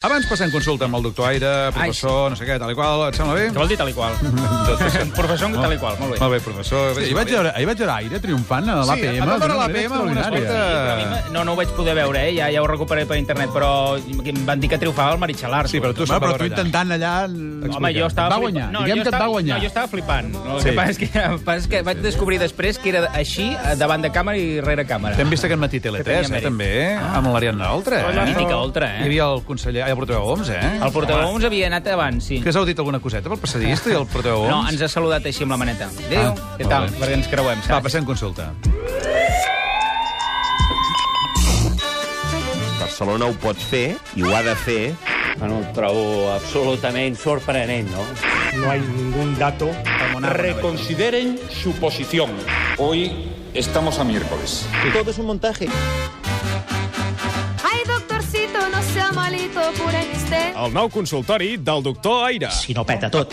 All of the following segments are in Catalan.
Abans passem consulta amb el doctor Aire, professor, no sé què, tal i qual, et sembla Què bé? vol dir tal i qual? Tot això. Professor, tal i qual, molt bé. Molt bé, professor. Ahir vaig, veure, ahir vaig veure aire triomfant a l'APM. Sí, a veure d'una l'APM manera amb una extraordinària. escolta- Però a mi me- No, no ho vaig poder veure, eh? ja, ja ho recuperaré per internet, però em van dir que triomfava el Maritxalar. Sí, però tu Bueno, vas però tu veure allà. intentant allà... Home, jo estava Va flipant. guanyar, No, diguem jo que et estava- va guanyar. No, jo estava flipant. No, el Sí. que passa és que, el que, passa és que vaig descobrir després que era així, eh, davant de càmera i rere càmera. T'hem vist aquest matí Que Tele3, tenia eh, mèrit. Ah. també, eh? amb l'Ariadna Oltra. Eh? Mítica Oltra, eh? Hi havia el conseller, ai, el portaveu Oms, eh? El portaveu Homs havia anat abans, sí. Que s'heu dit alguna coseta pel passadista i el portaveu Oms? No, ens ha saludat així amb la maneta. Adéu, Ah, què tal? molt bé. Perquè ens creuem, Va, saps? passem consulta. Barcelona ho pot fer i ho ha de fer Bueno, ho trobo absolutament sorprenent, no? no hay ningún dato. Reconsideren su posición. Hoy estamos a miércoles. Ay, doctorcito, no sea malito, cure usted. El nou consultori del doctor Aire. Si no peta tot.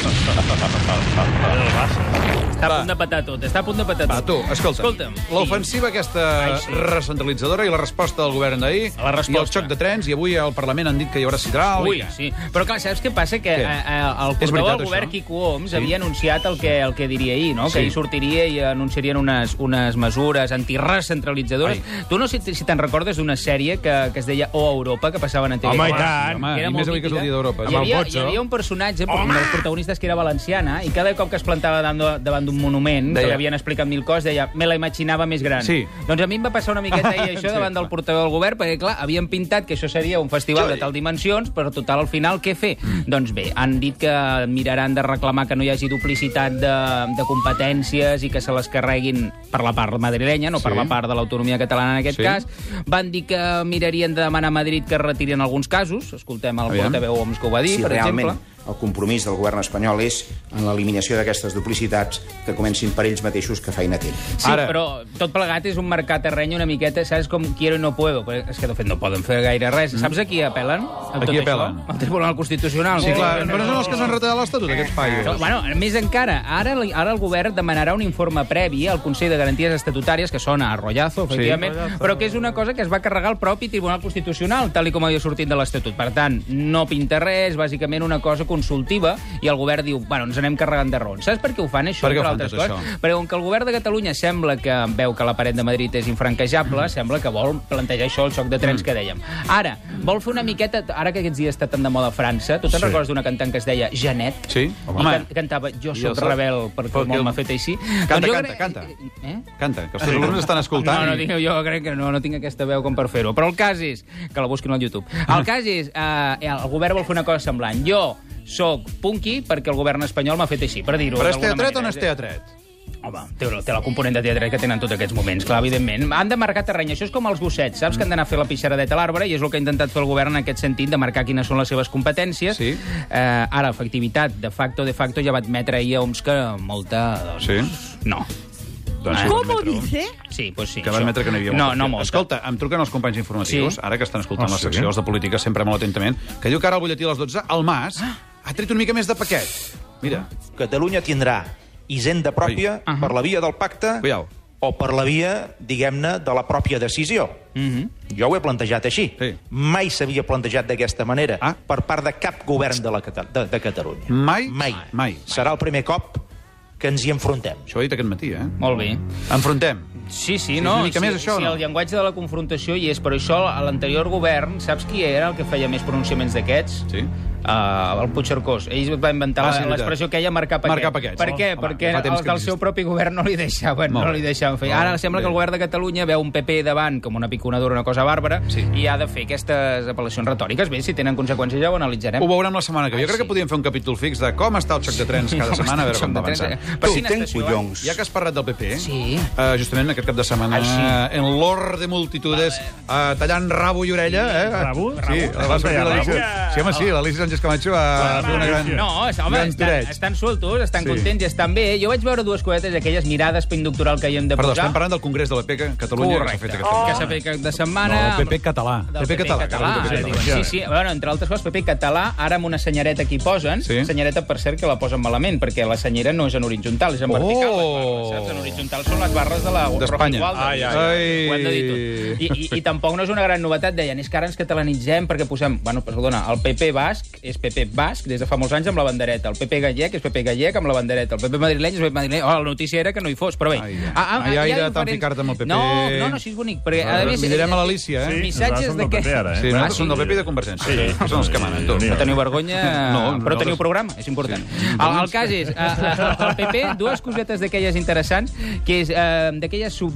Està a punt de petar tot, està a punt de petar Va, tot. tu, escolta'm. Escolta'm, sí. L'ofensiva aquesta Ai, sí. recentralitzadora i la resposta del govern d'ahir... La resposta. I el xoc de trens, i avui al Parlament han dit que hi haurà sidral... Ui, i- sí. Però clar, saps què passa? Que Què? eh, eh, el És portaveu veritat, del govern, això? Quico Homs, havia anunciat el que, el que diria ahir, no? Sí. Que ahir sortiria i anunciarien unes, unes mesures antirecentralitzadores. Tu no sé si te'n recordes d'una sèrie que, que es deia O Europa, que passaven a TV3. Home, i tant. Home, i més avui que és el dia d'Europa. Hi Amb el havia, Botxo. hi havia un personatge, un dels protagonistes, que era valenciana, i cada cop que es plantava davant davant d'un monument, Deia- que l'havien explicat mil cos, deia, me la imaginava més gran. Sí. Doncs a mi em va passar una miqueta ahir això davant del portaveu del govern, perquè, clar, havien pintat que això seria un festival de tal dimensions, però total, al final, què fer? Mm. Doncs bé, han dit que miraran de reclamar que no hi hagi duplicitat de, de competències i que se les carreguin per la part madrilenya, no per Sí. la part de l'autonomia catalana en aquest Sí. cas. Van dir que mirarien de demanar a Madrid que retirin alguns casos. Escoltem el Aviam. portaveu Homs que ho va dir, si per realment exemple. el compromís del govern espanyol és en l'eliminació d'aquestes duplicitats que comencin per ells mateixos que feina tenen. Sí, Ara. Ara. però tot plegat és un mercat terreny una miqueta, saps com quiero i no puedo, però és que de fet no poden fer gaire res. Saps a qui apel·len? A Mm. qui apel·len? Al Tribunal Constitucional. Sí, clar, però són els que s'han retallat l'Estatut, aquests Però, paios. Bueno, més encara, ara, ara el govern demanarà un informe previ al Consell de Garanties Estatutàries, que sona a rollazo, efectivament, sí, però que és una cosa que es va carregar el propi Tribunal Constitucional, tal i com havia sortit de l'Estatut. Per tant, no pinta res, bàsicament una cosa consultiva, i el govern diu, bueno, ens anem carregant de raons. Saps per què ho fan, això? Per què ho fan, entre altres tot coses? això? Perquè com que el govern de Catalunya sembla que veu que la paret de Madrid és infranquejable, sembla que vol plantejar això, el xoc de Mm. trens que dèiem. Ara, vol fer una miqueta... Ara que aquests dies està tan de moda a França, tu te'n Sí. recordes d'una cantant que es deia Janet? Sí, Home, home. I can cantava Jo Jo sóc sóc- rebel perquè el perquè el- món m'ha fet així. Canta, jo canta, canta. Eh? Canta, que els teus alumnes estan escoltant. No, no, i- tinc, jo crec que no, no tinc aquesta veu com per fer-ho. Però el cas és... Que la busquin al YouTube. El cas és... Eh, el govern vol fer una cosa semblant. Jo sóc punky perquè el govern espanyol m'ha fet així, per dir-ho Però és d'alguna teatret o manera. no és teatret? Home, té, té la component de teatre que tenen tots aquests moments, clar, evidentment. Han de marcar terreny. Això és com els gossets, saps? Que han d'anar a fer la pixaradeta a l'arbre i és el que ha intentat fer el govern en aquest sentit, de marcar quines són les seves competències. Sí. Eh, ara, efectivitat, de facto, de facto, ja va admetre ahir a Oms que molta... Doncs, Sí. No. Doncs sí, Com ho dice? Sí, pues sí. Que va això. admetre que n'hi havia No, molta. no molta. Escolta, em truquen els companys informatius, Sí. sí. ara que estan escoltant Ah, oh, la sí? secció, els de política, sempre molt atentament, que diu que ara al butlletí a les 12, el Mas Ah. ha tret una mica més de paquet. Mira, Catalunya tindrà hisenda pròpia Ahà. per la via del pacte cuidao. o per la via, diguem-ne, de la pròpia decisió. Mhm. Jo ho he plantejat així. Sí. Mai s'havia plantejat d'aquesta manera Ah. per part de cap govern de, la Cata de, de Catalunya. Mai? Mai. Mai. Serà el primer cop que ens hi enfrontem. Això ho he dit aquest matí, eh? Molt bé. Enfrontem. Sí, sí, és no. una mica sí, més, això, sí, no? el llenguatge de la confrontació hi és, però això a l'anterior govern, saps qui era el que feia més pronunciaments d'aquests? Sí. Uh, el Puigcercós. Ell va inventar Ah, ah, sí, sí, veritat. l'expressió que ella marcar paquets. Marcar paquets. Per què? Home, Perquè fa temps els que del existe. seu propi govern no li deixaven, Molt no bé. li deixaven fer. Ara sembla que el bé. govern de Catalunya veu un PP davant com una piconadora, una cosa bàrbara, Sí. i ha de fer aquestes apel·lacions retòriques. Bé, si tenen conseqüències ja ho analitzarem. Ho veurem la setmana que ve. Jo Ai, crec Ah, sí. que podíem fer un capítol fix de com està el xoc de trens cada com setmana, a veure està com el va xoc de avançant. trens. eh. Tu, Si ten n'estàs collons. Ja que has parlat del PP, Sí. eh, justament aquest cap de setmana, Ai, sí. en l'or de multitudes, eh, tallant rabo i orella... Eh? Rabo? Sí, Rabo? va sortir Rabo? l'Alícia. Sí, home, sí, l'Alícia Sánchez Camacho va fer una gran... No, home, grans estan, torets. estan soltos, estan Sí. sí. contents i estan bé. Jo vaig veure dues cosetes, aquelles mirades per inductoral que hi hem de Perdó, posar. estem parlant del Congrés de la PECA, Catalunya, que s'ha fet Tota. Correcte. aquesta Que s'ha fet aquest de setmana. No, PP català. Del PP català, català, català, eh, diuen. Sí, sí, bueno, entre altres coses, PP català, ara amb una senyereta que hi posen, Sí. sí. senyereta, per cert, que la posen malament, perquè la senyera no és en horitzontal, és en vertical. Oh! les barres, saps? En horitzontal són les barres de la, De d'Espanya. Igual, doncs, Ai, ai, ai. Ho hem de dir tot. I, i, I tampoc no és una gran novetat, deien, és que ara ens catalanitzem perquè posem... Bueno, perdona, el PP basc és PP basc des de fa molts anys amb la bandereta, el PP gallec és PP gallec amb la bandereta, el PP madrileny és PP madrileny... Oh, la notícia era que no hi fos, però bé. Ai, Ah, ah, ai, hi ha ai, de tant diferents- ficar-te amb el PP. No, no, no, sí, és bonic, perquè... Ara li direm a l'Alícia, eh? Sí, Missatges nosaltres de som que... del PP ara, eh? Sí, Ah, nosaltres sí? som del PP i de Convergència. Sí. Són els que manen, tots. Sí. No teniu vergonya, No, no, però nosaltres- teniu programa, és important. El, el cas és, eh, eh, el PP, dues cosetes d'aquelles interessants, que és eh, d'aquelles sub...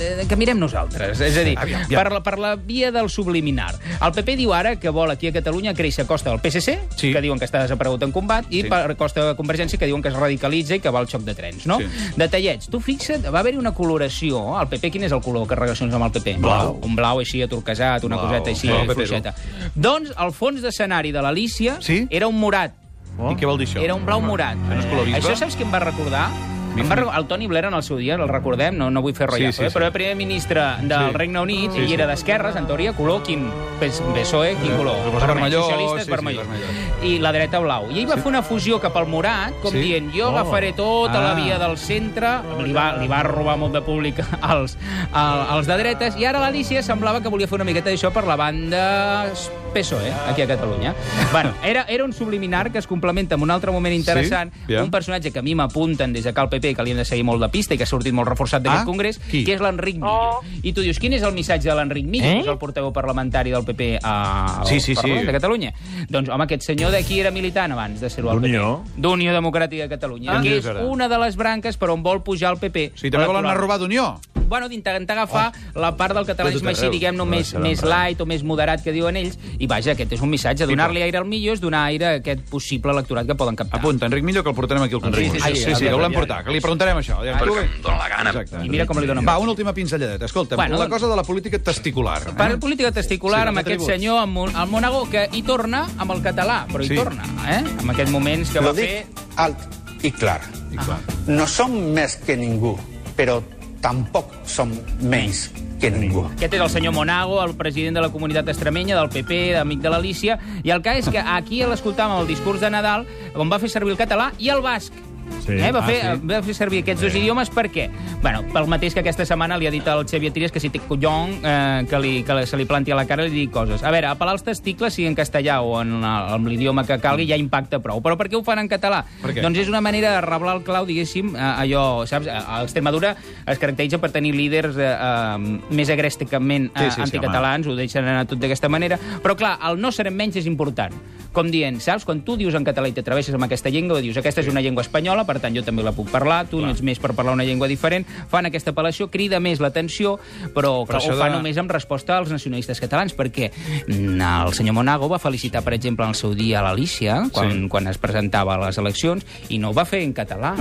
eh, que mirem nosaltres. És a dir, Aviam, aviam. per la, per la via del subliminar. El PP diu ara que vol aquí a Catalunya créixer a costa del PSC, Sí. que diuen que està desaparegut en combat, i Sí. per costa de Convergència, que diuen que es radicalitza i que va al xoc de trens, no? Sí. Detallets, tu fixa't, va haver-hi una coloració. El PP, quin és el color que relacions amb el PP? Blau. Un blau així aturquesat, una Blau. coseta així, Sí, el PP és fluixeta. Doncs el fons d'escenari de l'Alícia Sí? Oh. era un morat. I què vol dir això? Era un blau morat. no és colorisme? Això saps qui em va recordar? Em va, re- el Tony Blair en el seu dia, el recordem, no, no vull fer rotllazo, sí, eh? sí. però era primer ministre del Sí. Eh, Regne Unit i era d'esquerres, en teoria, color quin... pes- PSOE, E, quin color? suposo vermelló, Socialistes, sí, sí, vermelló. vermelló. I la dreta blau. I ell va fer una fusió cap al morat, com Sí? Oh. dient, jo agafaré tota la Ah. via del centre, li va, li va robar molt de públic als, al- als de dretes, i ara l'Alícia semblava que volia fer una miqueta d'això per la banda PSOE, eh, aquí a Catalunya. Bueno, era, era un subliminar que es complementa amb un altre moment interessant, sí? Aviam. un personatge que a mi m'apunten des de Cal PP, que li hem de seguir molt de pista i que ha sortit molt reforçat d'aquest Ah, congrés, qui? Eh? que és l'Enric Millo. I tu dius, quin és el missatge de l'Enric Millo, que és el portaveu parlamentari del PP a... Sí, sí, sí. Parlament de Catalunya? Doncs, home, aquest senyor d'aquí era militant abans de ser-ho al PP. D'Unió. D'Unió Democràtica de Catalunya, Ah. que és Sí, és una de les branques per on vol pujar el PP. O sigui, també volen Electoral. anar a robar d'Unió. Bueno, d'intentar agafar oh. la part del Tot catalanisme a així, Reus. diguem-ne, més, més light o més moderat que diuen ells, i vaja, aquest és un missatge, donar-li aire al millor és donar aire a aquest possible electorat que poden captar. Apunta, Enric Millo, que el portarem aquí al Congrés. sí, sí, Ai, sí, sí, sí, ja, que volem ja, portar, que li preguntarem això. Ja, tu, Perquè em dóna la gana. Exacte. I mira com li dóna Va, una última pinzelladeta. Escolta, Bueno, la doncs- cosa de la política testicular. eh? Per política testicular, Sí, amb els aquest atributs. senyor, amb un, el Monago, que hi torna amb el català, però hi Sí. torna, eh? En aquests moments que va Lo fer... dic alt i clar. I clar. Ah. No som més que ningú, però tampoc som menys que ningú. Aquest és el senyor Monago, el president de la comunitat estremenya, del PP, d'amic de l'Alícia, i el cas és que aquí l'escoltàvem el discurs de Nadal, on va fer servir el català i el basc. Sí. Eh, va, Ah, fer, sí. va fer servir aquests dos idiomes per què? Bueno, pel mateix que aquesta setmana li ha dit al Xavier Trias que si té collon eh, que, li, que se li planti a la cara i li digui coses. A veure, apel·lar els testicles, sigui en castellà o en, el- en l'idioma que calgui, ja impacta prou. Però per què ho fan en català? Per què? Doncs és una manera de reblar el clau, diguéssim, eh, allò, saps? A a Extremadura es caracteritza per tenir líders eh, eh, més agrèsticament eh, Sí, sí, sí, anticatalans, ho deixen anar tot d'aquesta manera. Però, clar, el no serem menys és important. Com dient, saps? Quan tu dius en català i t'atreveixes amb aquesta llengua, dius, aquesta és una llengua espanyola, per tant, jo també la puc parlar, tu no ets més per parlar una llengua diferent, fan aquesta apel·lació, crida més l'atenció, però, Però però això ho fa de- només amb resposta als nacionalistes catalans, perquè mm, el senyor Monago va felicitar, per exemple, en el seu dia a l'Alícia, quan, Sí. quan es presentava a les eleccions, i no ho va fer en català.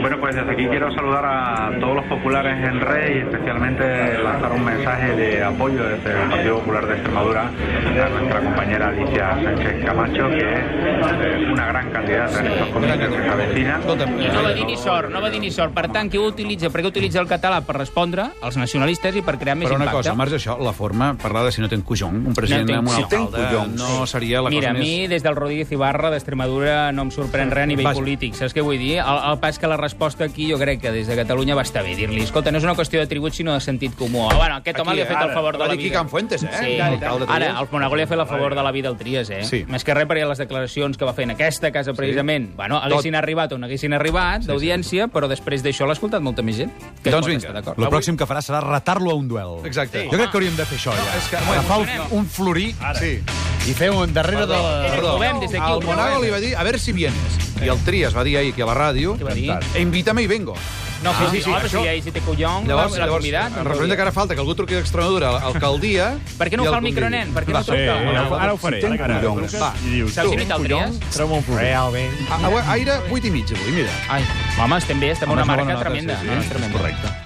Bueno, pues desde aquí quiero saludar a todos los populares en red y especialmente lanzar un mensaje de apoyo desde el Partido Popular de Extremadura a nuestra compañera Alicia Sánchez Camacho, que es eh, una gran candidata en estos comicios que se avecinan. Escolta'm, eh, I no va dir ni sort, no va dir ni sort. Per tant, qui ho utilitza? Per què utilitza el català? Per respondre als nacionalistes i per crear més Però una impacte. cosa, al marge d'això, la forma, parlar de si no ten cojón, un president No tenc- amb una si tenc falda, collons. no seria la Mira, cosa a mi, més... des del Rodríguez Ibarra d'Extremadura no em sorprèn res a nivell Vaja. polític. Saps què vull dir? El, el pas que la resposta aquí jo crec que des de Catalunya va estar bé dir-li escolta, no és una qüestió de tributs sinó de sentit comú. Ah, bueno, aquest home Aquí, li ha fet ara, el favor de va la dir aquí vida. Can Fuentes, eh? Sí. L'alcalde Ara, Trias. el Monago li ha fet el favor de la vida al Trias, eh? Sí. Més que res perquè les declaracions que va fent aquesta casa, precisament, bueno, haguessin arribat on haguessin arribat, d'audiència, però després d'això l'ha escoltat molta més gent. que Doncs pot vinga. estar d'acord. El pròxim que farà serà retar-lo a un duel. Exacte. Jo crec que hauríem de fer això, ja. és que- Agafar un, un florí Sí. i fer un darrere de la... Ho provem des d'aquí, ho El provem. Monago li va dir, a ver si vienes. I el Trias va dir ahir aquí a la ràdio, Què va dir? e invítame i vengo. No, sí, sí, sí, Ah, home, això- si ja hi té collons, Llavors, l'ha llavors convidat. em representa que ara falta que algú truqui d'Extremadura a l'alcaldia... Per què no i ho el fa el convidi. micronen? Per què no Va, truca? Sí, ara, Ara- ara ho faré. Ara, ara, collons, va. I dius, Saps tu, si no hi té el Trias? treu-me un florí. Realment. A- a- Aire 8 i mig avui, mira. Ai, home, estem bé, estem en Home, una és marca bona nota, tremenda. sí, sí, no? És tremenda. correcte.